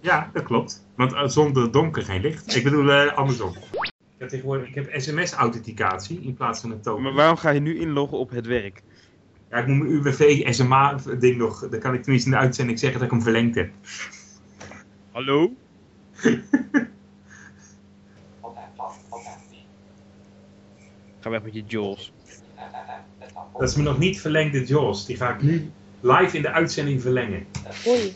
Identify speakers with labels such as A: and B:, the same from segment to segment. A: Ja, dat klopt. Want eh, zonder donker geen licht. Ik bedoel, eh, andersom. Ik heb tegenwoordig ik heb sms-authenticatie in plaats van een token.
B: Maar waarom ga je nu inloggen op het werk?
A: Ja, ik moet mijn UWV-SMA-ding nog... Dan kan ik tenminste in de uitzending zeggen dat ik hem verlengd heb.
B: Hallo? Ga weg met je Jaws.
A: Dat is me nog niet verlengde Jaws. Die ga ik nu live in de uitzending verlengen.
C: Oei.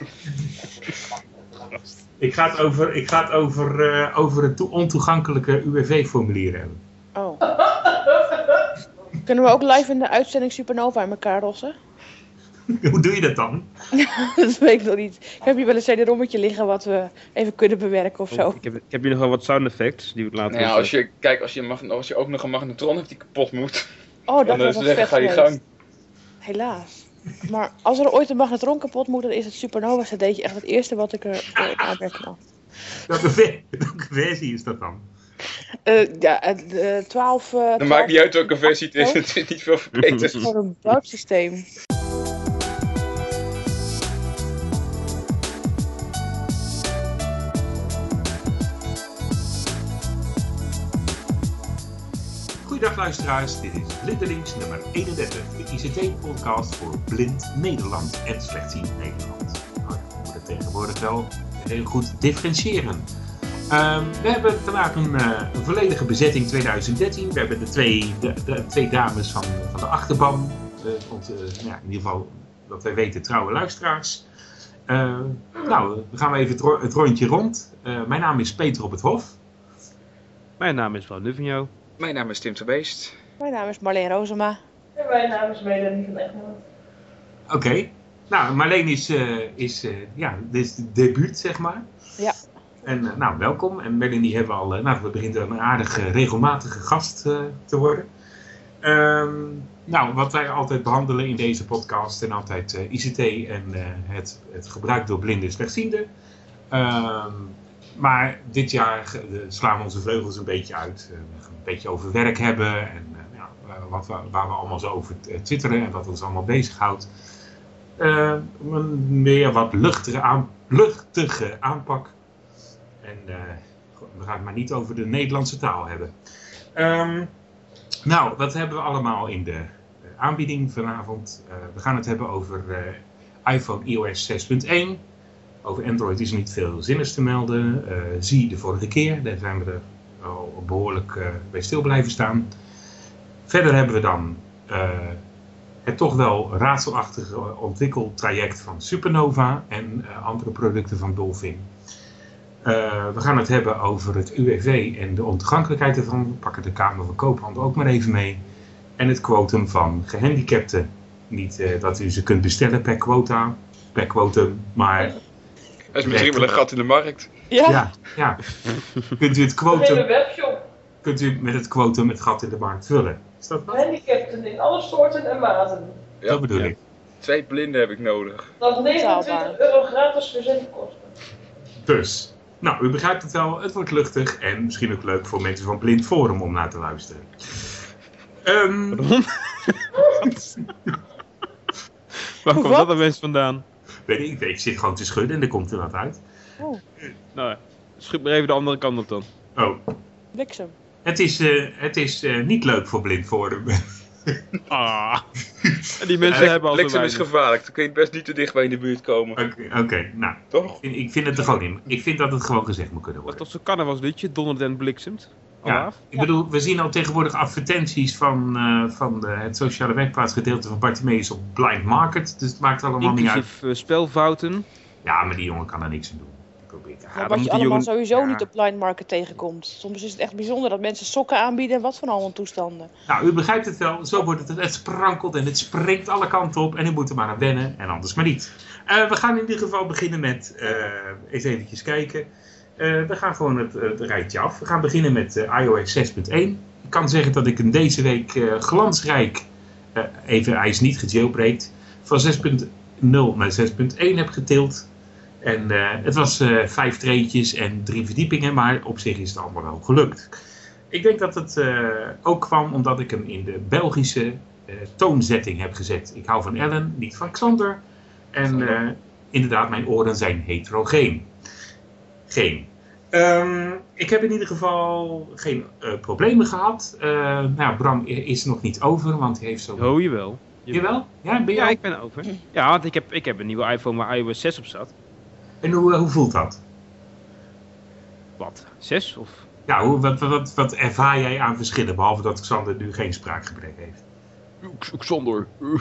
A: Ik ga het over, ik ga het over, eh, over het to- ontoegankelijke UWV-formulier hebben.
C: Oh. Kunnen we ook live in de uitzending Supernova in elkaar rossen?
A: Hoe doe je dat dan?
C: dat weet ik nog niet. Ik heb hier wel een CD-rommetje liggen wat we even kunnen bewerken of
D: Oh,
C: zo.
B: Oh, Ik heb, ik heb hier nog wel wat sound effects die we later...
D: Nou
A: Dus
D: ja, als je, kijk, als je, een magn- als je ook nog een magnetron hebt die kapot moet,
C: Oh,
D: dan
C: dat
D: zou
C: was
D: ze
C: wel
D: zeggen,
C: vet
D: ga je
C: geweest.
D: gang.
C: Helaas. Maar als er ooit een magnetron kapot moet, dan is het Supernova cd'tje echt het eerste wat ik er voor in aanmerking nam.
A: Welke, ver- welke versie is dat dan?
C: Eh, ja, het, eh, 12... eh, 12
D: Dan maakt niet uit welke versie het
C: Oh.
D: is, het is niet veel verbeterd.
C: Voor een bouwsysteem.
A: Goeiedag luisteraars, dit is Blindelings nummer 31, de ICT-podcast voor blind Nederland en slechtziend Nederland. Nou ja, we moeten tegenwoordig wel heel goed differentiëren. Ehm, we hebben vandaag een, eh, een volledige bezetting 2013. We hebben de twee, de, de twee dames van, van de achterban, eh, onze, eh, nou ja, in ieder geval dat wij weten trouwe luisteraars. Eh, nou, we gaan even het, ro- het rondje rond. Eh, mijn naam is Peter op het Hof.
B: Mijn naam is Van Nuvigno.
D: Mijn naam is Tim de Beest.
C: Mijn naam is Marleen Rozema.
E: En mijn naam is Melanie van Egmond.
A: Oké. Nou, Marleen is, eh, is eh, ja, dit is het debuut, zeg maar.
C: Ja.
A: En eh, nou, welkom. En Melanie hebben we al, eh, nou, we begint een aardige, regelmatige gast eh, te worden. Ehm, nou, wat wij altijd behandelen in deze podcast en altijd eh, ICT en eh, het, het gebruik door blinden en slechtzienden. Ehm, maar dit jaar eh, slaan we onze vleugels een beetje uit. Eh, we gaan een beetje over werk hebben en eh, ja, eh, wat we, waar we allemaal zo over eh, twitteren en wat ons allemaal bezighoudt eh, een meer wat luchtige, aan, luchtige aanpak. En eh, goed, we gaan het maar niet over de Nederlandse taal hebben. Ehm, nou, wat hebben we allemaal in de eh, aanbieding vanavond? Eh, we gaan het hebben over eh, iPhone iOS 6.1. Over Android is niet veel zinnigs te melden. Eh, zie de vorige keer, daar zijn we er al behoorlijk eh, bij stil blijven staan. Verder hebben we dan eh, het toch wel raadselachtige ontwikkeltraject van Supernova en eh, andere producten van Dolphin. Eh, we gaan het hebben over het UWV en de ontoegankelijkheid ervan. We pakken de Kamer van Koophandel ook maar even mee. En het quotum van gehandicapten. Niet eh, dat u ze kunt bestellen per quota, per quotum, maar
D: Dat is misschien wel een gat in de markt.
C: Ja,
A: ja, ja. kunt, u het
E: Een hele
A: quotum,
E: webshop.
A: kunt u met het quotum het gat in de markt vullen. Is dat wat?
E: Gehandicapten in alle soorten en maten.
D: Ja.
A: Dat bedoel
B: Ja.
A: ik.
D: Twee blinden heb ik nodig.
E: Dat 29
C: Betaalbaar.
E: euro gratis verzendkosten.
A: Dus, nou, u begrijpt het wel. Het wordt luchtig en misschien ook leuk voor mensen van Blind Forum om naar te luisteren. Ehm,
B: Waar komt
C: Wat?
B: dat dan mensen vandaan?
A: weet ik, ik zit gewoon te schudden en er komt er wat uit.
B: Nou, schud maar even de andere kant op dan.
A: Oh,
C: bliksem.
A: het is, eh, het is eh, niet leuk voor Blind Forum.
B: Ah. En die mensen hebben al zo
D: Bliksem is
B: weinig.
D: gevaarlijk, dan kun je best niet te dichtbij in de buurt komen.
A: Oké, oké, nou,
D: Toch?
A: ik- ik vind het er gewoon in. Ik vind dat het gewoon gezegd moet kunnen
B: Was
A: worden.
B: toch zo'n carnavalsliedje, donderd en bliksemt?
A: Ja,
B: Alaaf?
A: ik bedoel, we zien al tegenwoordig advertenties van, eh, van eh, het sociale werkplaatsgedeelte van Bartimeus op Blind Market. Dus het maakt allemaal niet uit.
B: Inclusief eh, spelfouten.
A: Ja, maar die jongen kan er niks aan doen. Ik probeer het.
C: Maar
B: dan moet
C: wat je
B: die
C: allemaal
B: jongen-
C: sowieso
A: ja.
C: niet op blind market tegenkomt. Soms is het echt bijzonder dat mensen sokken aanbieden en wat van allemaal toestanden.
A: Nou, u begrijpt het wel. Zo wordt het. Het sprankelt en het springt alle kanten op. En u moet er maar aan wennen. En anders maar niet. Eh, we gaan in ieder geval beginnen met... eh, eens eventjes kijken. Eh, we gaan gewoon het, het rijtje af. We gaan beginnen met eh, iOS 6.1. Ik kan zeggen dat ik hem deze week eh, glansrijk... eh, even, hij is niet gejailbreakt. Van 6.0 naar 6.1 heb getild. En eh, het was eh, vijf treetjes en drie verdiepingen. Maar op zich is het allemaal wel gelukt. Ik denk dat het eh, ook kwam omdat ik hem in de Belgische eh, toonzetting heb gezet. Ik hou van Ellen, niet van Xander. En eh, inderdaad, mijn oren zijn heterogeen. geen. Ehm, ik heb in ieder geval geen eh, problemen gehad. Eh, nou, ja, Bram i- is nog niet over, want hij heeft zo.
B: Oh, jawel.
A: Jawel? Ja, ben jij?
B: Ja, ik ben over.
C: Hm.
B: Ja, want ik heb, ik heb een nieuwe iPhone waar iOS 6 op zat.
A: En hoe, eh, hoe voelt dat?
B: Wat? 6? Of...
A: Ja, hoe, wat, wat, wat ervaar jij aan verschillen, behalve dat Xander nu geen spraakgebrek heeft?
B: X- Xander. Uh.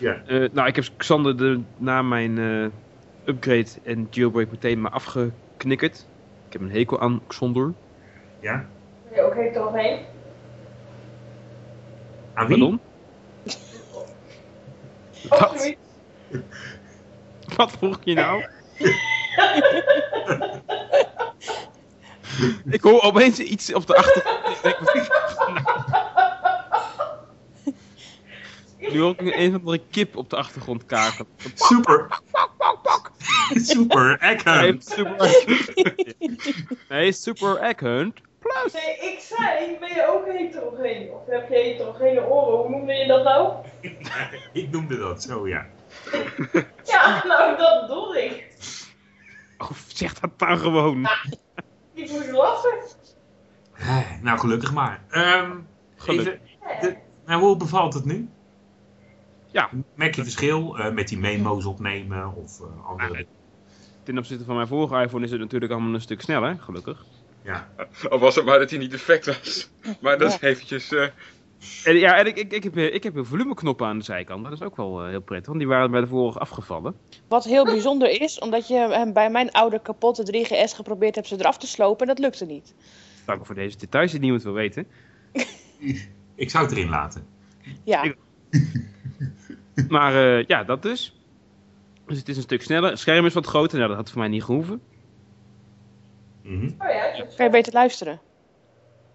A: Ja.
B: Eh, nou, ik heb Xander de, na mijn eh, upgrade en jailbreak meteen maar afgeknikkerd. Ik heb een hekel aan Xander.
A: Ja?
E: Ben je ook heet eroverheen?
A: Aan wie?
B: Pardon?
E: Of
B: Wat?
E: zoiets.
B: Wat vroeg je nou? ik hoor opeens iets op de achtergrond. Ik denk, wat is dat nou? Nu hoor ik een een of andere kip op de achtergrond kaken.
A: Super. Super,
B: Nee,
A: Eckhound.
B: super. nee, super egghunt.
E: Nee, ik zei, ben je ook heterogeen? Of heb je heterogene oren? Hoe noemde je dat nou?
A: Ik noemde dat zo, ja.
E: Ja, nou, dat bedoelde ik.
B: Oh, zeg dat nou gewoon.
E: Ik moest lachen.
A: Eh, Nou, gelukkig maar. Ehm,
B: Gelukkig.
A: even- nou, hoe bevalt het nu?
B: Ja.
A: Merk je verschil eh, met die memo's opnemen of eh, andere...
B: Ten opzichte van mijn vorige iPhone is het natuurlijk allemaal een stuk sneller, gelukkig.
A: Ja.
D: Al was het maar dat hij niet defect was. Maar dat is eventjes... eh,
B: En, ja, en ik, ik, ik, heb, eh, ik heb een volumeknop aan de zijkant. Dat is ook wel eh, heel prettig, want die waren bij de vorige afgevallen.
C: Wat heel bijzonder is, omdat je hem bij mijn oude kapotte 3GS geprobeerd hebt ze eraf te slopen en dat lukte niet.
B: Dank voor deze details die niemand wil weten.
A: Ik zou het erin laten.
C: Ja,
B: Ik- Maar eh, ja, dat dus. Dus het is een stuk sneller. Het scherm is wat groter. Nou, dat had voor mij niet gehoeven.
A: Mhm.
E: Oh ja,
C: kan je beter luisteren.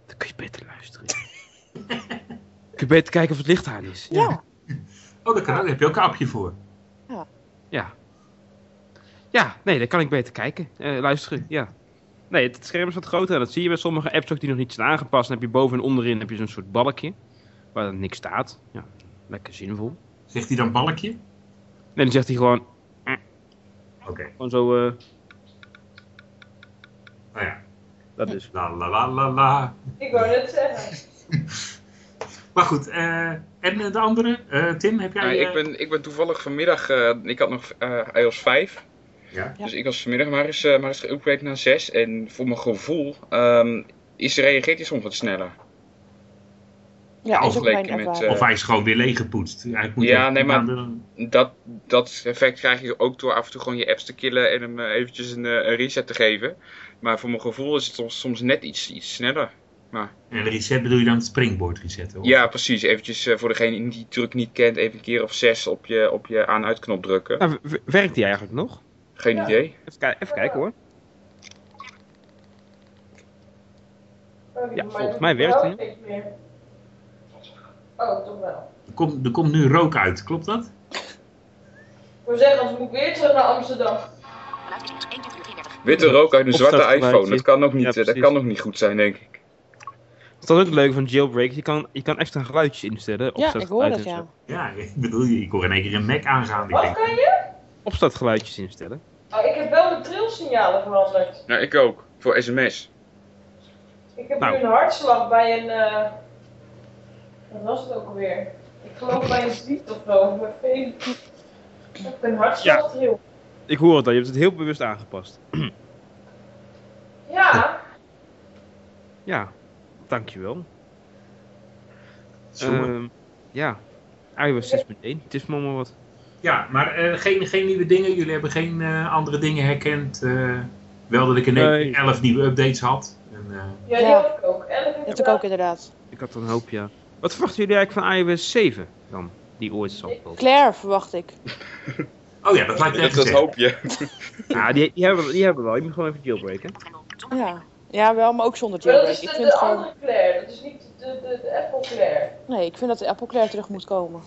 B: Dan kun je beter luisteren. kun je beter kijken of het licht aan is.
C: Ja,
A: Oh, dat kan ook. Daar heb je ook een appje voor.
B: Ja. Ja, nee, dan kan ik beter kijken. eh, luisteren, ja. Nee, het, het scherm is wat groter en dat zie je bij sommige apps ook die nog niet zijn aangepast. Dan heb je boven en onderin heb je zo'n soort balkje waar dan niks staat. Ja, lekker zinvol.
A: Zegt hij dan balkje?
B: En dan zegt hij gewoon,
A: Oké.
B: gewoon zo, eh,
A: Nou ja.
B: dat is.
A: La la la la la.
E: ik wou net zeggen.
A: Maar goed. eh, en eh, de andere? Eh, Tim, heb jij...
D: nou,
A: eh,
D: ik, ben, ik ben toevallig vanmiddag... eh, ik had nog eh, iOS 5.
A: Ja.
C: Ja.
D: Dus ik was vanmiddag maar eens, eh, maar eens geüpgrade naar 6. En voor mijn gevoel ehm, is, reageert hij soms wat sneller.
C: ja is ook mijn
D: vergeleken met,
B: eh,
C: ervaring.
A: Of hij is gewoon weer leeggepoetst. Hij moet
D: Ja,
A: even-
D: nee, maar-
A: Nou,
D: Dat, dat effect krijg je ook door af en toe gewoon je apps te killen en hem eh, eventjes een, eh, een reset te geven. Maar voor mijn gevoel is het soms, soms net iets, iets sneller.
A: En de reset bedoel je dan het springboard resetten? of?
D: Ja, precies. Eventjes eh, voor degene die die truc niet kent, even een keer of zes op je, op je aan-uitknop drukken.
B: Nou, w- w- werkt die eigenlijk nog?
D: Geen
E: Ja.
D: idee.
B: Even, ki- even kijken hoor.
E: Oh,
B: Ja,
E: maar
B: volgens
E: dat
B: mij
E: doet
B: werkt
E: wel steeds meer. Oh, toch wel.
A: Er komt, er komt nu rook uit, klopt dat?
E: We zeggen, anders moet ik weer terug naar Amsterdam.
D: Witte rook uit een zwarte
B: Opstartgeluidje.
D: iPhone. Dat kan ook niet,
B: Ja,
D: eh, dat
B: precies.
D: kan ook niet goed zijn, denk ik.
B: Dat is ook leuk van jailbreak. Je kan, je kan extra geluidjes instellen.
C: Ja, ik hoor
B: opstartgeluid
C: dat
B: en
C: ja.
B: zo.
A: Ja, ik bedoel, ik hoor in één keer een Mac aangaan. Ik
E: Wat
A: denk,
E: kan je?
B: Opstartgeluidjes instellen.
E: Oh, ik heb wel de trilsignalen veranderd.
D: Nou, ik ook. Voor sms.
E: Ik heb
B: Nou.
E: nu een hartslag bij een. eh Wat was het ook alweer? Ik geloof bij een ziet of zo. Mijn veen. Ik heb een hartslag heel.
B: Ik hoor het al. Je hebt het heel bewust aangepast.
E: Ja,
B: Ja, dankjewel.
A: zo.
D: Eh.
B: Ehm, ja, iOS 6.1. Het is maar maar wat.
A: Ja, maar eh, geen, geen nieuwe dingen. Jullie hebben geen eh, andere dingen herkend. eh, wel dat ik in één
B: Nee.
A: keer 11 nieuwe updates had. En, eh,
E: ja die
C: Ja.
E: had ik ook. Elf
C: Dat heb ik ook inderdaad.
B: Ik had er een hoop, ja. Wat verwachten jullie eigenlijk van iOS 7 dan? Die ooit zal komen.
C: Claire verwacht ik.
A: oh ja, dat lijkt net
D: Dat, dat hoop je.
B: Ja, die, die, hebben, die hebben we wel. Je moet gewoon even jailbreken.
C: Ja. ja, wel, maar ook zonder
E: Maar dat
C: jailbreak.
E: is de,
C: Ik
E: de
C: vind gewoon,
E: andere Claire. Dat is niet de, de, de Apple Claire.
C: nee, ik vind dat de Apple Claire terug moet komen.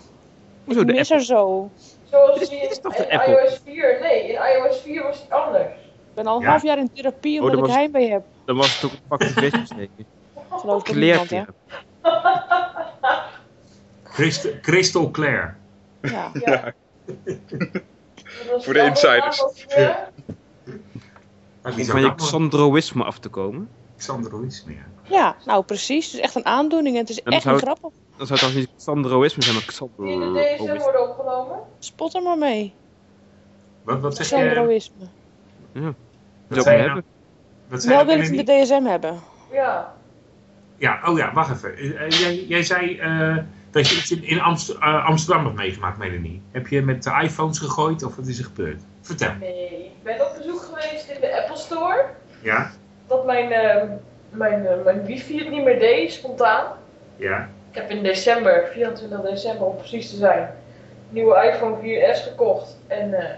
B: Hoezo de
C: Mis
B: Apple?
C: er zo.
E: Zoals
B: Dit is-
E: die
B: dit
E: in,
B: is toch de
E: in
B: Apple?
E: iOS 4. Nee, in iOS 4 was die anders.
C: Ik ben al een
A: Ja.
C: half jaar in therapie omdat
B: Oh, dat
C: ik
B: was-
C: heimwee heb.
B: Dan was het ook een pakje best zeker.
C: Geloof ik niemand, hè?
B: Kleertherapie.
A: Christ- Crystal Claire.
C: Ja.
E: Ja. Dat was
D: Voor de
E: wel een eh,
D: insiders.
E: naam ook, ja.
A: Maar wie
B: Om
A: zou
B: van je
A: dat nou-
B: Xandroïsme af te komen.
A: Xandroïsme, ja.
C: Ja, nou precies. Het is echt een aandoening en het is
B: dan
C: echt
B: zou
C: een
B: het-
C: grappig.
B: Dan zou het dan niet Xandroïsme zijn, maar
E: In de DSM
B: Xandroïsme.
E: worden opgenomen.
C: Spot er maar mee.
A: Wat, wat zeg je?
C: Sandroïsme.
B: Zou
A: Wat
B: ik hem
A: zei je nou?
B: hebben?
A: Wat zei
C: Wel
A: je
C: wil ik
A: nou?
C: het in de DSM hebben.
E: Ja.
A: Ja, oh ja, wacht even. Eh, eh, jij, jij zei eh, dat je iets in, in Amst- eh, Amsterdam hebt meegemaakt, Melanie. Heb je met de iPhones gegooid of wat is er gebeurd? Vertel.
E: Nee. Ik ben op bezoek geweest in de Apple Store.
A: Ja,
E: Dat mijn, eh, mijn, eh, mijn wifi het niet meer deed, spontaan.
A: ja.
E: Ik heb in december, 24 december om precies te zijn, een nieuwe iPhone 4S gekocht. En eh,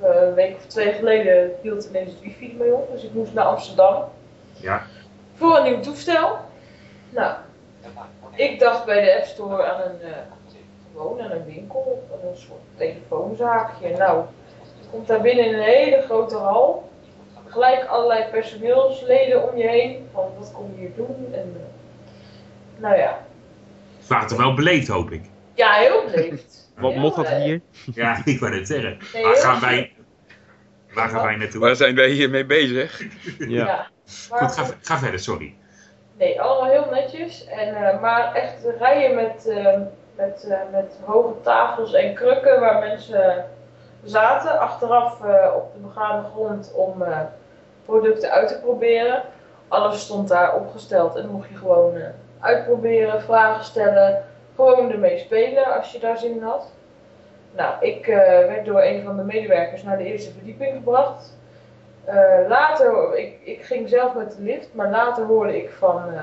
E: een week of twee geleden hield ineens het wifi ermee op. Dus ik moest naar Amsterdam
A: Ja,
E: voor een nieuw toestel. Nou, ik dacht bij de App Store aan een, eh, gewoon aan een winkel, aan een soort telefoonzaakje. Nou, je komt daar binnen in een hele grote hal. Gelijk allerlei personeelsleden om je heen. Van wat kom je hier doen? En, eh, nou ja.
A: ze waren toch wel beleefd, hoop ik.
E: Ja, heel beleefd.
B: Wat
E: Heel
B: mocht dat
E: beleefd.
B: hier?
A: Ja, ik wou net zeggen.
E: Nee,
A: Waar
E: heel
A: gaan
E: beleefd.
A: wij, waar gaan wij naartoe?
D: Waar zijn wij hiermee bezig?
E: Ja.
B: Ja.
E: Maar
A: Goed, ga, ver- ga verder, sorry.
E: Nee, allemaal heel netjes. En, eh, maar echt rijen met, eh, met, eh, met hoge tafels en krukken waar mensen zaten. Achteraf eh, op de begane grond om eh, producten uit te proberen. Alles stond daar opgesteld en mocht je gewoon eh, uitproberen, vragen stellen. Gewoon ermee spelen als je daar zin in had. Nou, ik eh, werd door een van de medewerkers naar de eerste verdieping gebracht. Eh, later, ik, ik ging zelf met de lift, maar later hoorde ik van eh,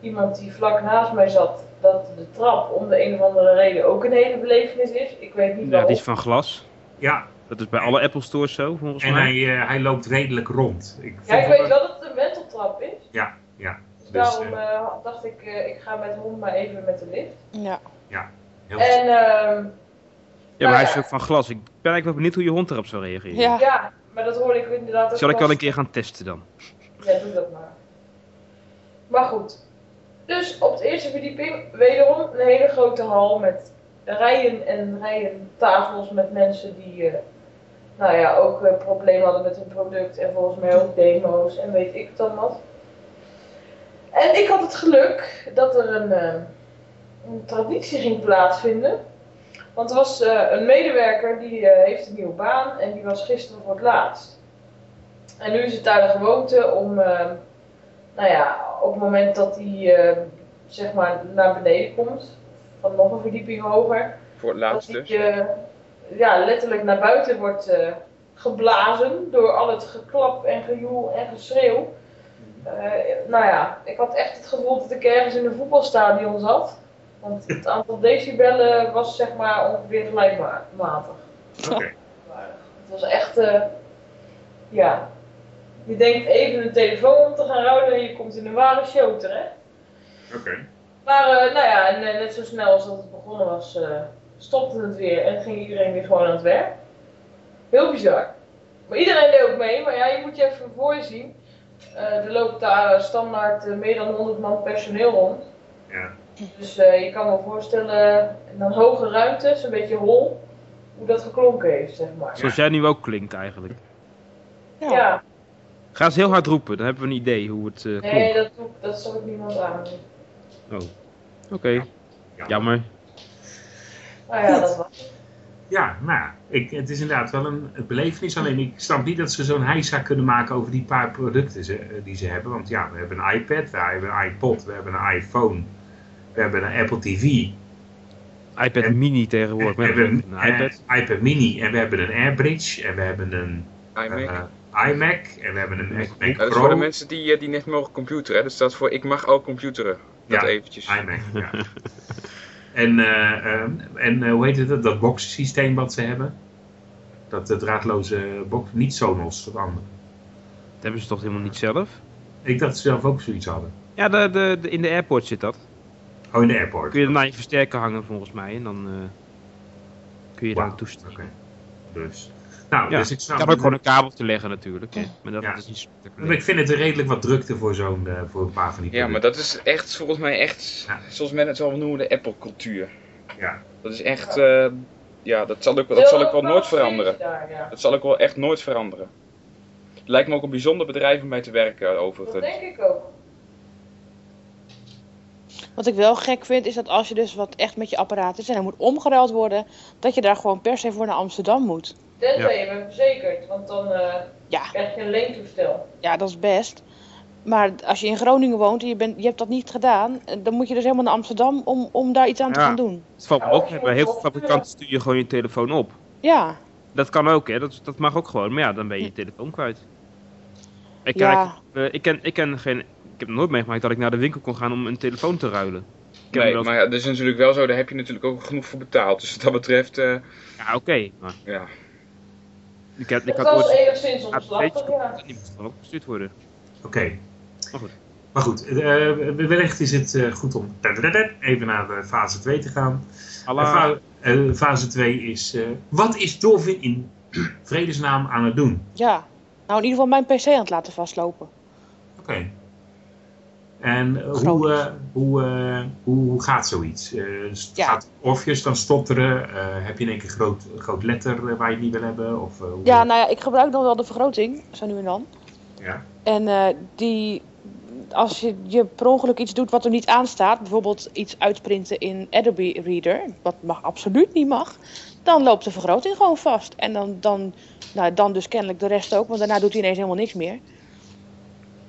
E: iemand die vlak naast mij zat dat de trap om de een of andere reden ook een hele belevenis is. Ik weet niet
B: ja,
E: waarom.
B: die is van glas.
A: Ja,
B: Dat is bij alle Apple Stores zo, volgens
A: en hij,
B: mij.
A: eh, hij loopt redelijk rond. Ik
E: Ja,
A: vond
E: ik weet
A: hem-
E: wel dat het een wenteltrap is.
A: Ja, ja.
E: Dus,
A: Dus,
E: daarom eh, dacht ik, eh, ik ga met hond maar even met de lift.
C: Ja.
A: heel
E: En ehm,
B: Ja, maar hij is
E: ja.
B: ook van glas. Ik ben eigenlijk wel benieuwd hoe je hond erop zou reageren.
C: Ja.
E: ja, maar dat hoorde ik inderdaad ook.
B: Zal ik
E: pas-
B: wel een keer gaan testen dan?
E: Ja, doe dat maar. Maar goed. Dus op de eerste verdieping, wederom een hele grote hal met rijen en rijen tafels met mensen die eh, nou ja, ook eh, problemen hadden met hun product en volgens mij ook demo's en weet ik het dan wat. En ik had het geluk dat er een, eh, een traditie ging plaatsvinden. Want er was eh, een medewerker die eh, heeft een nieuwe baan en die was gisteren voor het laatst. En nu is het daar de gewoonte om, eh, nou ja, op het moment dat hij eh, zeg maar naar beneden komt, van nog een verdieping hoger,
D: Voor het laatst
E: dat
D: dus.
E: hij eh, ja, letterlijk naar buiten wordt eh, geblazen door al het geklap en gejoel en geschreeuw. Eh, nou ja, ik had echt het gevoel dat ik ergens in een voetbalstadion zat. Want het aantal decibellen was zeg maar ongeveer gelijkmatig. eh,
A: Oké.
E: Het was echt, eh, ja. Je denkt even een telefoon om te gaan ruilen en je komt in een ware show terecht.
A: Oké.
E: Maar eh, nou ja, en, eh, net zo snel als dat het begonnen was, eh, stopte het weer en ging iedereen weer gewoon aan het werk. Heel bizar. Maar iedereen deed ook mee, maar ja, je moet je even voor je zien. Eh, er loopt daar eh, standaard eh, meer dan 100 man personeel rond.
A: Ja.
E: Dus eh, je kan me voorstellen, en dan hoge ruimtes, een beetje hol, hoe dat geklonken heeft, zeg maar.
B: Zoals jij nu ook klinkt eigenlijk.
C: Ja.
E: ja.
B: Ga eens heel hard roepen, dan hebben we een idee hoe het eh klonk.
E: Nee, dat, doe ik- dat zal ik niemand aan. Nou doen.
B: Oh. Oké. Jammer.
E: Nou ja, dat was.
A: Ja, nou, ik, het is inderdaad wel een, een belevenis. Alleen ik snap niet dat ze zo'n heisa kunnen maken over die paar producten ze- eh, die ze hebben. Want ja, we hebben een iPad, we hebben een iPod, we hebben een iPhone, we hebben een Apple TV.
B: iPad
A: En-
B: Mini
A: We
B: tegenwoordig. Met
A: hebben
B: een
A: een eh,
B: iPad.
A: iPad Mini en we hebben een AirBridge en we hebben een
D: iMac.
A: eh, iMac en we hebben een
B: Ja,
A: iMac
D: Ja, dat is voor de
A: Pro.
D: mensen die, eh, die net mogen computeren. hè. Dat staat voor ik mag ook computeren. Dat
A: Ja,
D: eventjes.
A: iMac, ja. En, eh, eh, en eh, hoe heet het, dat boxsysteem wat ze hebben? Dat eh, draadloze box, niet Sonos, dat andere.
B: Dat hebben ze toch helemaal niet zelf?
A: Ik dacht ze zelf ook zoiets hadden.
B: Ja, de, de, de- in de airport zit dat.
A: Oh, in de airport.
B: Kun je daarna je versterker hangen volgens mij. En dan eh, kun je daar
A: Wauw,
B: aan toestemmen.
A: Oh, oké. Dus. Nou,
B: Ja,
A: dus ik
B: Je
A: snap
B: kan ook gewoon een kabel te leggen natuurlijk. Hè. Maar dat
A: Ja.
B: is niet
A: Maar ik
B: spectaculair.
A: vind het redelijk wat drukte voor zo'n eh, voor een paar van die
D: Ja, maar dat is echt, volgens mij echt,
A: Ja.
D: zoals men het zal noemen, de Apple-cultuur.
A: Ja.
D: Dat is echt, eh, ja, dat zal ik, dat zal ik wel nooit veranderen.
E: Daar, ja.
D: Dat zal ik wel echt nooit veranderen. Lijkt me ook een bijzonder bedrijf om bij te werken, eh,
E: Dat
D: overigens.
E: denk ik ook.
C: Wat ik wel gek vind, is dat als je dus wat echt met je apparaat is en hij moet omgeruild worden, dat je daar gewoon per se voor naar Amsterdam moet.
E: Tenzij je bent verzekerd, want dan eh,
C: Ja.
E: krijg je een leentoestel.
C: Ja, dat is best. Maar als je in Groningen woont en je, bent, je hebt dat niet gedaan, eh, dan moet je dus helemaal naar Amsterdam om, om daar iets aan te
B: Ja.
C: gaan doen.
B: Het valt me
E: Ja,
B: ook
E: of je
B: mee, maar heel
E: moet
B: veel
E: wel-
B: fabrikanten sturen je gewoon je telefoon op.
C: Ja,
B: Dat kan ook, hè? Dat, dat mag ook gewoon. Maar ja, dan ben je je telefoon kwijt. Ik, ken,
C: ja.
B: eh, ik, ken, ik, ken geen, ik heb nog nooit meegemaakt dat ik naar de winkel kon gaan om een telefoon te ruilen. Ik heb
D: Nee,
B: wel-
D: maar ja, dat is natuurlijk wel zo. Daar heb je natuurlijk ook genoeg voor betaald. Dus wat dat betreft, eh,
B: Ja, oké. maar
D: ja.
B: ik, heb,
E: Het
B: ik had
E: was
B: ooit
E: enigszins
B: een beetje
E: ontslachtig, ja.
B: dat niet van opgestuurd worden.
A: Oké.
B: Maar goed.
A: Maar goed, eh, wellicht is het eh, goed om even naar de fase 2 te gaan.
B: Alla,
A: En fa- eh, fase 2 is, eh, wat is Dolphin in vredesnaam aan het doen?
C: Ja. Nou, in ieder geval mijn PC aan het laten vastlopen.
A: Oké. En eh, hoe,
C: Groot.
A: eh, hoe, eh, hoe, hoe gaat zoiets? Eh, st-
C: Ja.
A: Gaat Orpheus dan stotteren? Eh, heb je in één keer een groot, groot letter eh, waar je het niet wil hebben? Of, eh, hoe-
C: Ja, nou ja, ik gebruik dan wel de vergroting, zo nu en dan.
A: ja.
C: En eh, die, als je, je per ongeluk iets doet wat er niet aan staat, bijvoorbeeld iets uitprinten in Adobe Reader, wat mag, absoluut niet mag, dan loopt de vergroting gewoon vast. En dan, dan, nou, dan dus kennelijk de rest ook, want daarna doet hij ineens helemaal niks meer.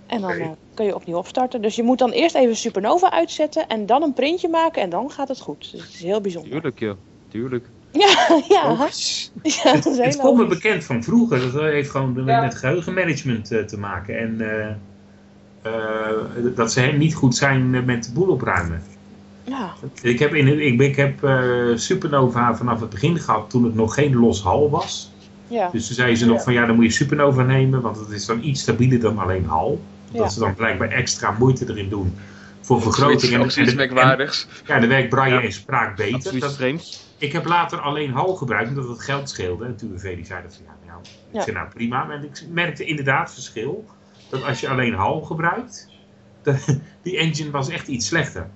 C: En dan
A: Oké.
C: eh, kun je opnieuw opstarten. Dus je moet dan eerst even Supernova uitzetten en dan een printje maken en dan gaat het goed. Dus het is heel bijzonder.
B: Tuurlijk, joh. Tuurlijk.
C: Ja, nou, ja.
B: Logisch.
C: ja dat is
A: Oh.
C: heel
A: Het komt me
C: logisch.
A: bekend van vroeger. Dat heeft gewoon
E: Ja.
A: met geheugenmanagement eh, te maken. En eh, eh, dat ze niet goed zijn eh, met de boel opruimen.
C: Ja.
A: Ik heb, in, ik, ben- ik heb eh, Supernova vanaf het begin gehad toen het nog geen los hal was.
C: Ja.
A: Dus toen zeiden ze nog
E: Ja.
A: van ja, dan moet je Supernova nemen, want het is dan iets stabieler dan alleen hal.
C: Ja.
A: Dat ze dan blijkbaar extra moeite erin doen voor vergroting.
D: Zoiets-
A: en,
D: Zoiets
A: en-
D: merkwaardigs.
A: ja, de werkt Braille
B: Ja.
A: en spraak beter.
B: Absoluut
A: Dat,
B: vreemd.
A: ik heb later alleen hal gebruikt omdat het geld scheelde. En toen die zei dat van ja, nou, ik
C: Ja.
A: zei nou prima. En ik merkte inderdaad verschil dat als je alleen hal gebruikt, de- die engine was echt iets slechter.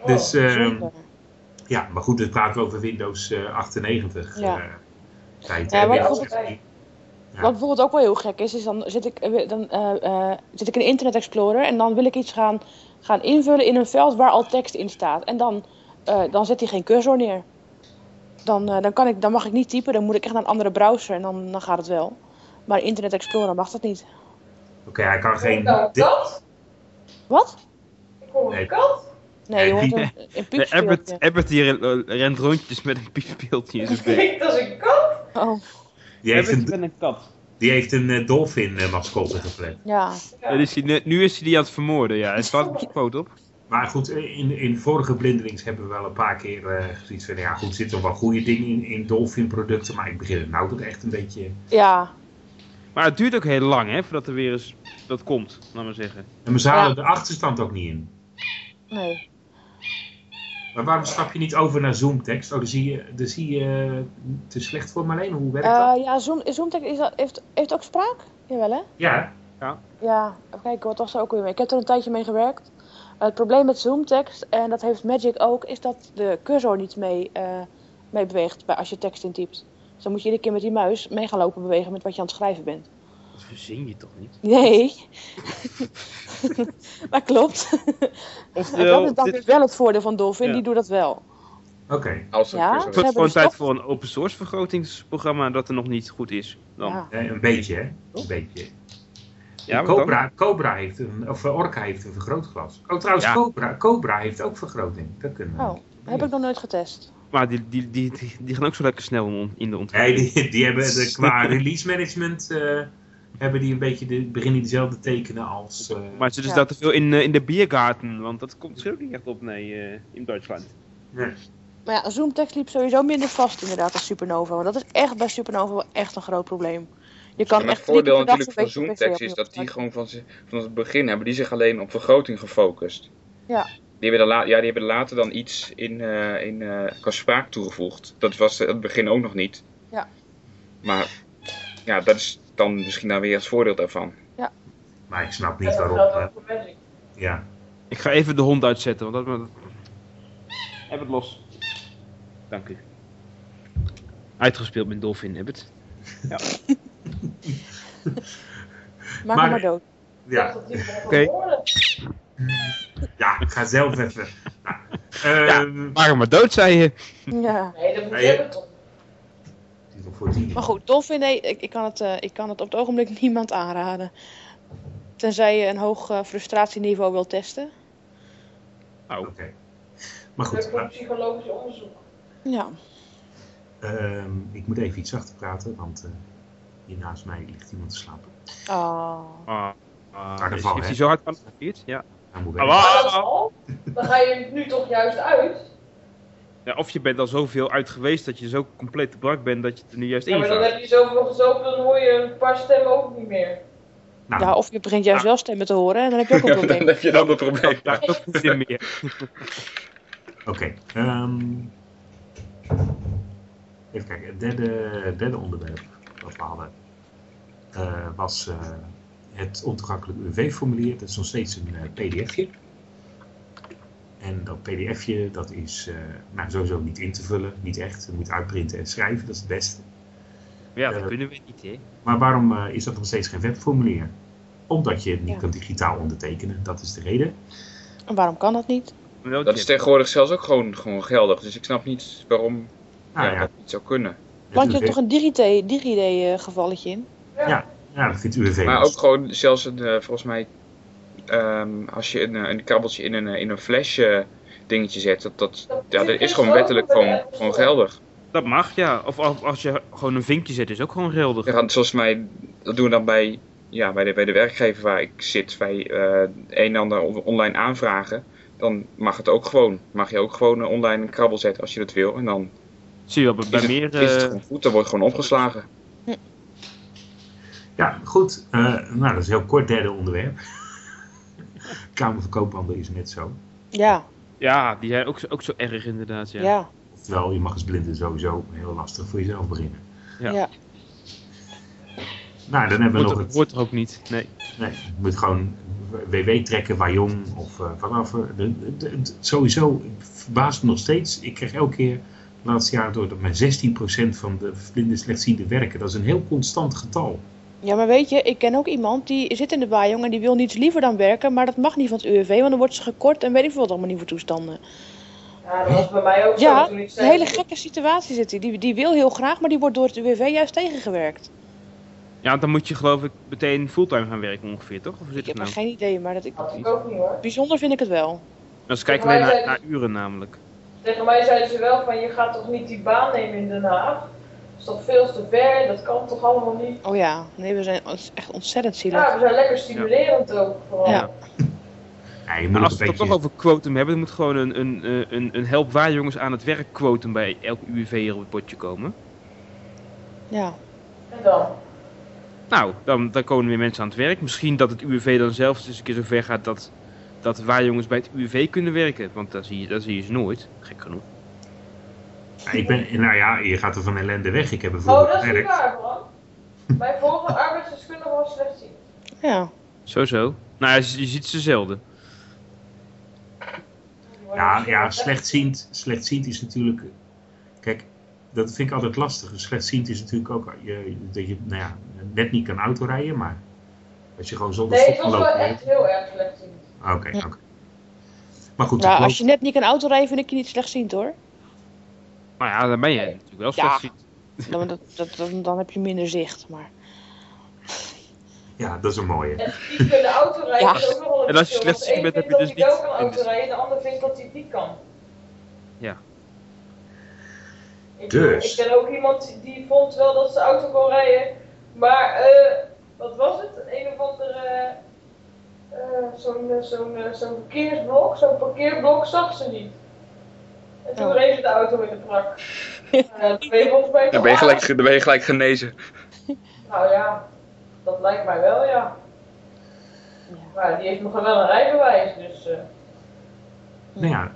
E: Oh,
A: Dus ehm,
C: Zeker.
A: ja, maar goed, dit praten we over Windows eh, 98.
C: Ja.
A: eh, tijd,
C: Ja,
A: hè.
C: maar
A: Dit is
E: goed,
A: echt niet- Ja.
C: Wat bijvoorbeeld ook wel heel gek is, is dan zit ik, eh, dan, eh, eh, zit ik in Internet Explorer en dan wil ik iets gaan, gaan invullen in een veld waar al tekst in staat. En dan, eh, dan zet hij geen cursor neer. Dan, eh, dan, kan ik, dan mag ik niet typen, dan moet ik echt naar een andere browser en dan, dan gaat het wel. Maar in Internet Explorer mag dat niet.
A: Oké, hij kan eh, geen.
E: nou,
A: dit-
E: kat?
C: Wat?
E: Ik hoor
A: Nee.
E: een kat.
C: Nee, je hoort
A: Nee,
C: een, een
B: De
C: piepspeeltje.
B: Abbott, Abbott die ren- rent rondjes met een piepspeeltje in zijn bek.
E: Dat is een kat.
C: Oh,
A: Die heeft een,
B: met een kat.
A: die heeft een eh, dolphin eh, mascotte gepland.
C: ja.
E: Ja.
B: is hij, nu- nu is hij die aan het vermoorden, ja. En staat een quote op.
A: Maar goed, eh, in, in vorige blindelings hebben we wel een paar keer eh, gezien van ja, goed, er zitten wel goede dingen in, in dolphin producten, maar ik begin het nou toch echt een beetje.
C: Ja.
B: Maar het duurt ook heel lang, hè, voordat er weer eens dat komt, laat maar zeggen.
A: En we halen
C: Ja.
A: de achterstand ook niet in.
C: Nee.
A: Maar waarom stap je niet over naar Zoomtekst? Oh, dan zie je, dan zie je eh, te slecht voor me alleen. Hoe werkt dat?
C: Eh, ja, Zoom, Zoomtek is dat, heeft, heeft ook spraak? Jawel hè?
A: Ja,
C: Ja, even kijken, wat was er ook weer mee? Ik heb er een tijdje mee gewerkt. Het probleem met zoomtekst, en dat heeft Magic ook, is dat de cursor niet mee, eh, mee beweegt bij, als je tekst intypt. Dus dan moet je iedere keer met die muis mee gaan lopen bewegen met wat je aan het schrijven bent.
B: Dat verzin je toch niet?
C: Nee, dat klopt. En dat is dan
B: dit-
C: weer wel het voordeel van Dolphin,
B: Ja.
C: die doet dat wel.
A: oké.
D: Als
C: Ja?
D: het
B: Het
C: Ze
B: wordt
C: hebben
B: gewoon tijd
C: gestopt.
B: voor een open source vergrotingsprogramma dat er nog niet goed is. Dan.
C: Ja.
A: Eh, een beetje, hè? Een beetje.
B: Ja, wat dan?
A: Cobra, Cobra heeft een, of eh, Orca heeft een vergrootglas. Oh, trouwens,
B: Ja.
A: Cobra, Cobra heeft ook vergroting. Dat kunnen we.
C: Oh, heb ik nog nooit getest.
B: Maar die, die, die, die, die gaan ook zo lekker snel om- in de ontwikkeling.
A: Nee, die, die hebben de, qua release management eh, hebben die een beetje de, beginnen dezelfde tekenen als. eh,
B: Maar ze dus
C: Ja.
B: dat te veel in, eh, in de biergarten, want dat komt er ook niet echt op, nee, eh, in Duitsland.
A: nee.
C: Maar ja, zoomtekst liep sowieso minder vast inderdaad als Supernova. Want dat is echt bij Supernova wel echt een groot probleem. Je kan
D: En
C: echt
D: het
C: drie
D: voordeel
C: keer per dag
D: natuurlijk
C: een
D: van
C: beetje
D: Zoomtext
C: PC
D: is
C: opnieuw
D: dat die
C: starten.
D: gewoon van, ze- van het begin hebben die zich alleen op vergroting gefocust.
C: Ja.
D: Die hebben, er la- ja, die hebben later dan iets in, eh, in eh, qua spraak toegevoegd. Dat was eh, het begin ook nog niet.
C: Ja.
D: Maar ja, dat is dan misschien dan weer het voordeel daarvan.
A: maar ik snap niet
E: Dat
A: waarom.
E: geldt
A: eh,
E: ook voor Magic.
A: ja.
B: Ik ga even de hond uitzetten, want dat... dat- Heb het los. Dank u. Uitgespeeld met Dolphin, heb het.
C: Maak
A: Maar-
C: hem maar dood.
A: Ja,
E: Dat die nog
B: Oké.
E: horen.
A: ja ga zelf even. Nou, ehm,
B: Ja. Maak hem maar dood, zei je.
C: Ja.
E: Nee, dat moet
A: Nee,
E: je
A: hè?
E: hebben toch.
A: die nog voor die.
C: Maar goed, dolfijn, nee, ik, ik, kan het, eh, ik kan het op het ogenblik niemand aanraden. Tenzij je een hoog eh, frustratieniveau wil testen.
A: Oké. Maar Ah.
E: Dat
A: goed,
E: is een psychologisch onderzoek.
C: Ja.
A: ehm, ik moet even iets zachter praten, want eh, hier naast mij ligt iemand te slapen.
C: Oh.
B: Ah, ah,
A: Carnaval,
B: is
A: hè?
B: hij zo hard van het fiets? Ja.
A: Hij moet
B: Ah,
A: weg.
E: Maar
B: wa-
E: dat is al. Dan ga je nu toch juist uit.
B: Ja, of je bent al zoveel uit geweest dat je zo compleet te brak bent dat je het er nu juist
E: Ja,
B: in
E: maar dan
B: gaat.
E: heb je zoveel gezopen, dan hoor je een paar stemmen ook niet meer.
A: Nou,
C: Ja, of je begint juist wel stemmen te horen en dan heb je ook een
D: Ja, dan
C: probleem.
D: heb je dan een probleem.
B: Daar is ook niet in meer.
A: Oké. ehm, even kijken. Het derde, derde onderwerp wat we hadden eh, was eh, het ontoegankelijk UWV-formulier. Dat is nog steeds een eh, pdfje. En dat pdfje dat is eh, nou, sowieso niet in te vullen, niet echt. Je moet uitprinten en schrijven, dat is het beste.
B: Ja, dat kunnen we niet, hè?
A: Maar waarom eh, is dat nog steeds geen webformulier? Omdat je het niet
C: Ja.
A: kan digitaal ondertekenen, dat is de reden.
C: En waarom kan dat niet?
D: Dat is tegenwoordig zelfs ook gewoon, gewoon geldig. Dus ik snap niet waarom
A: Nou
D: Ah, ja,
A: ja,
D: dat niet zou kunnen.
C: Want je
A: het
C: hebt
A: UWV
C: toch een DigiD-gevalletje in?
A: Ja. ja, dat vindt UWV
D: Maar
A: dus.
D: ook gewoon zelfs een, eh, volgens mij, ehm, als je een, eh, een kabbeltje in een, eh, in een flesje dingetje zet, dat, dat, ja, dat is gewoon wettelijk gewoon, gewoon geldig.
B: Dat mag, ja. Of al- als je gewoon een vinkje zet, is ook gewoon geldig.
D: Ja, want zoals mij, dat doen we dan bij, ja, bij, de, bij de werkgever waar ik zit, bij eh een en ander on- online aanvragen. Dan mag het ook gewoon. Mag je ook gewoon eh, online een krabbel zetten als je dat wil. En dan
B: Zie je wel, bij
D: is,
B: meer...
D: het, is het
B: eh,
D: gewoon goed, dan wordt gewoon opgeslagen.
A: Ja, goed. Eh, nou, dat is een heel kort derde onderwerp. Kamer van Koophandel is net zo.
C: Ja,
B: ja, die zijn ook, zo- ook zo erg inderdaad, ja.
C: ja. ja.
A: Oftewel, je mag als blinde sowieso heel lastig voor jezelf beginnen.
B: Ja.
A: Nou, dan hebben we
B: Wordt,
A: nog
B: er,
A: het...
B: wordt er ook niet, nee.
A: Nee, je moet gewoon WW trekken, Wajong of eh, vanaf. eh, de- de- de- Sowieso het verbaast me nog steeds. Ik krijg elke keer, het laatste jaar door, dat maar 16% van de blinden slechtzienden werken. Dat is een heel constant getal.
C: Ja, maar weet je, ik ken ook iemand die zit in de bajong en die wil niets liever dan werken, maar dat mag niet van het UWV, want dan wordt ze gekort en weet ik veel wat allemaal niet voor toestanden.
E: Ja, dat was bij mij ook
C: Ja,
E: zo. Toen ik
C: Een
E: zei,
C: hele gekke situatie zit die. die. Die wil heel graag, maar die wordt door het UWV juist tegengewerkt.
B: Ja, dan moet je geloof ik meteen fulltime gaan werken ongeveer, toch? Of hoe
C: Ik
B: zit
C: heb
B: het
C: er
B: nou?
C: geen idee, maar dat ik...
E: had ik ook niet hoor.
C: bijzonder vind ik het wel.
B: Als kijken
E: Maar
B: alleen naar,
E: wij
B: naar uren namelijk.
E: Tegen mij zeiden ze wel van, je gaat toch niet die baan nemen in Den Haag? Dat is toch veel te ver, dat kan toch allemaal niet?
C: Oh ja, nee, we zijn ons- echt ontzettend zielig.
E: Ja, we zijn lekker stimulerend ook vooral.
C: Ja.
A: Ja, je moet het een
B: Nou, als we het
A: beetje...
B: toch over quotum hebben, dan moet gewoon een, een, eh, een, een help waar jongens aan het werk quotum bij elk UWV hier op het potje komen.
C: Ja,
E: En dan?
B: Nou, dan, dan komen weer mensen aan het werk. Misschien dat het UWV dan zelf eens een keer zover gaat dat, dat waarjongens bij het UWV kunnen werken. Want daar zie je, daar zie je ze nooit, gek genoeg.
A: Ja, ik ben, nou ja, je gaat er van ellende weg. Ik heb bijvoorbeeld
E: Oh, dat is niet
A: gewerkt-
E: waar, man. Mijn vorige arbeidsdeskundige was slechtziend.
C: ja.
B: Zo zo. Nou, je, je ziet ze zelden.
E: Die worden
A: Ja,
E: misschien
A: ja
E: wel slecht.
A: slechtziend, slechtziend is natuurlijk. Kijk, dat vind ik altijd lastig. Slechtziend is natuurlijk ook je, dat je nou ja, net niet kan autorijden, maar als je gewoon zonder
E: Nee,
A: stop
E: het
A: kan
E: was wel
A: lopen. hè?
E: echt heel erg slechtziend.
A: Ah, Oké, oké. Maar goed,
C: ja
A: ik
C: als je net niet kan autorijden, vind ik je niet slechtziend hoor.
B: Maar ja, dan ben je natuurlijk wel
C: Ja.
B: slecht.
C: Dan, dat, dat, dan, dan heb je minder zicht, maar...
A: geloof- ja, dat is een mooie.
E: En die kunnen autorijden
C: Ja.
E: is ook nog wel een
B: En als je
E: verschil, want
B: slechtziend
E: de
B: bent,
E: een
B: heb je
E: vindt
B: dus
E: dat hij
B: niet-
E: wel kan autorijden, de ander vindt dat hij het niet kan.
B: Ja.
E: Ik,
A: Dus.
E: ik ben ook iemand die vond wel dat ze auto kon rijden, maar eh, wat was het? Een of ander, eh, eh, zo'n eh, zo'n eh, zo'n verkeersblok, zo'n parkeerblok zag ze niet. En toen
C: Oh.
E: reed ze de auto in de prak. Eh, dat ben je volgens mij
D: Dan
E: toch
D: ben je gelijk,
E: aardig.
D: dan ben je gelijk genezen.
E: Nou ja, dat lijkt mij wel, ja.
C: Ja.
E: Maar die heeft nog wel een rijbewijs, dus... eh,
A: Nou ja,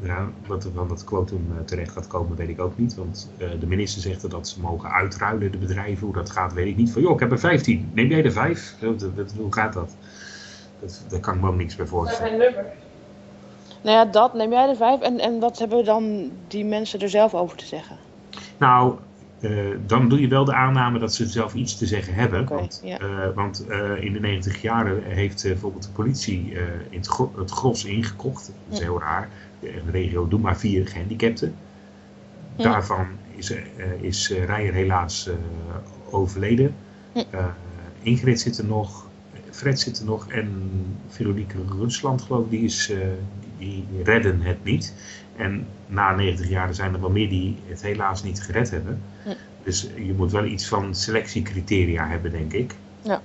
A: ja, wat er van dat quotum eh, terecht gaat komen, weet ik ook niet. Want eh, de minister zegt dat ze mogen uitruilen, de bedrijven. Hoe dat gaat, weet ik niet. Van joh, ik heb er 15. Neem jij er 5? Hoe gaat dat? dat? Daar kan ik me ook niks bij
E: Dat
A: voorstellen.
E: zijn nummers.
C: Nou ja, dat neem jij de vijf en, en wat hebben dan die mensen er zelf over te zeggen?
A: Nou, eh, dan doe je wel de aanname dat ze zelf iets te zeggen hebben.
C: Oké,
A: want
C: ja.
A: eh, want eh, in de 90 jaren heeft eh, bijvoorbeeld de politie eh, in het, gro- het gros ingekocht. Dat is
C: Ja.
A: heel raar. Een regio doe maar vier gehandicapten.
C: Ja.
A: Daarvan is, eh eh, is eh, Rijer helaas eh, overleden.
C: Ja.
A: Eh, Ingrid zit er nog. Fred zit er nog. En Veronique Rusland geloof ik. Die, is, eh, die die redden het niet. En na 90 jaar zijn er wel meer die het helaas niet gered hebben.
C: Ja.
A: Dus je moet wel iets van selectiecriteria hebben, denk ik.
C: Ja.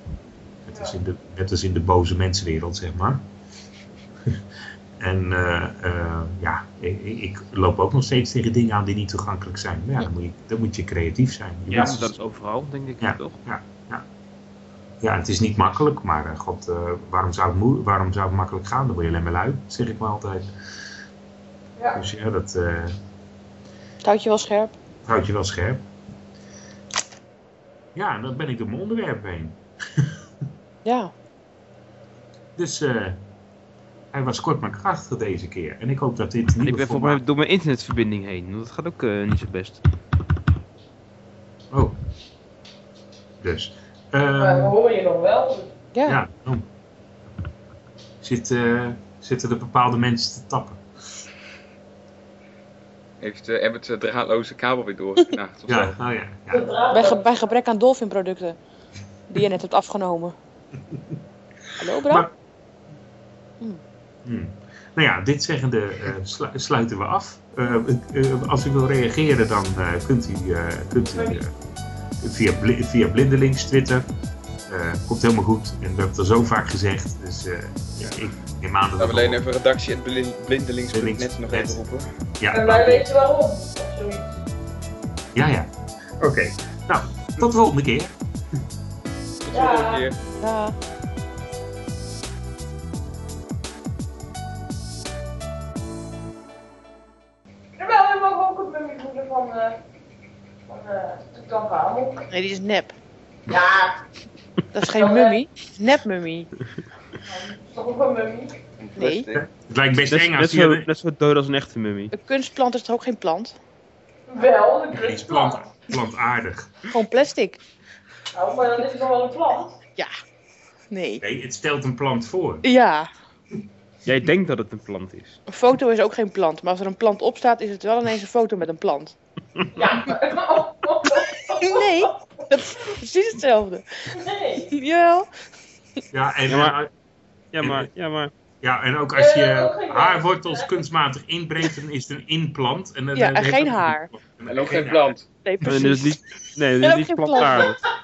A: Net als in de, net als in de boze mensenwereld, zeg maar. en eh, eh, ja, ik, ik loop ook nog steeds tegen dingen aan die niet toegankelijk zijn. Maar ja, dan moet je, dan moet je creatief zijn. Je
B: Ja,
A: moet-
B: dat is overal, denk ik
A: Ja.
B: toch?
A: ja, het is niet makkelijk, maar eh, god, eh, waarom, zou het moe- waarom zou het makkelijk gaan? Dan word je alleen maar lui, zeg ik maar altijd.
E: Ja.
A: Dus ja, dat eh,
C: Het houdt je wel scherp.
A: houdt je wel scherp. Ja, en dan ben ik door mijn onderwerp heen.
C: Ja.
A: Dus eh, hij was kort maar krachtig deze keer. En ik hoop dat dit niet
B: Ik ben volgens mij door mijn internetverbinding heen. want Dat gaat ook eh, niet zo best.
A: Oh. Dus. Ehm,
E: Maar we horen je nog wel.
C: Ja.
A: ja. daarom. Zit, eh, zitten er bepaalde mensen te tappen?
D: Heeft eh Abbott de draadloze kabel weer doorgeknaagd of
A: Ja,
D: zo?
A: oh ja.
E: De
A: ja.
E: draad
C: Bij, ge- bij gebrek aan dolfinproducten. Die je net hebt afgenomen. Hallo Bram?
A: Maar-
C: Hm.
A: Hmm. Nou ja, dit zeggende eh, slu- sluiten we af. Eh, eh, als u wil reageren, dan eh, kunt u, eh, kunt u eh, via, bli- via Blindelings Twitter. Eh, komt helemaal goed. En we hebben het al zo vaak gezegd. Dus eh, ja, ik neem aan dat
D: Laten we alleen
A: wel-
D: even redactie en blindelings.net nog even roepen.
A: Ja,
E: En
A: laten
E: wij
A: we-
E: weten waarom. Of zoiets.
A: Ja, ja. Oké. Nou, tot de volgende keer.
D: Tot de
E: Ja.
D: volgende keer.
C: Ja.
E: Jawel, we mogen ook het mummievoeder van, eh van eh Toetan Hamel.
C: Nee, die is nep.
E: Ja,
C: Dat is geen mummie. Het is Nep mummie.
E: dat is toch ook een mummie?
C: Nee.
A: Het lijkt best
B: Net,
A: eng
B: net,
A: als
B: zo,
A: je
B: net zo dood als een echte mummie.
C: Een kunstplant is toch ook geen plant?
E: Wel, een
A: iets
E: kunstplant.
A: plant, plantaardig.
C: Gewoon plastic.
E: Nou, maar dan is het nog wel een plant.
C: Nee.
A: Nee, het stelt een plant voor.
C: Ja.
B: Jij denkt dat het een plant is.
C: Een foto is ook geen plant. Maar als er een plant op staat, is het wel ineens een foto met een plant.
E: Ja,
C: Nee. Dat is precies hetzelfde.
E: nee.
C: Jawel.
A: Ja, en, eh,
B: Ja, maar- Ja, maar, ja, maar.
A: ja, en ook als
E: Ja, dat is ook
A: je
E: geen
A: haarwortels
E: plant.
A: kunstmatig inbrengt, dan is het een inplant. En, dan- eh,
C: Ja, en
A: dan-
C: geen haar.
D: En ook geen plant.
C: Nee,
B: Nee, dus dit is
C: precies.
B: niet, nee, dit
C: En
B: is
C: ook
B: niet
C: geen plant.
B: plantaardig.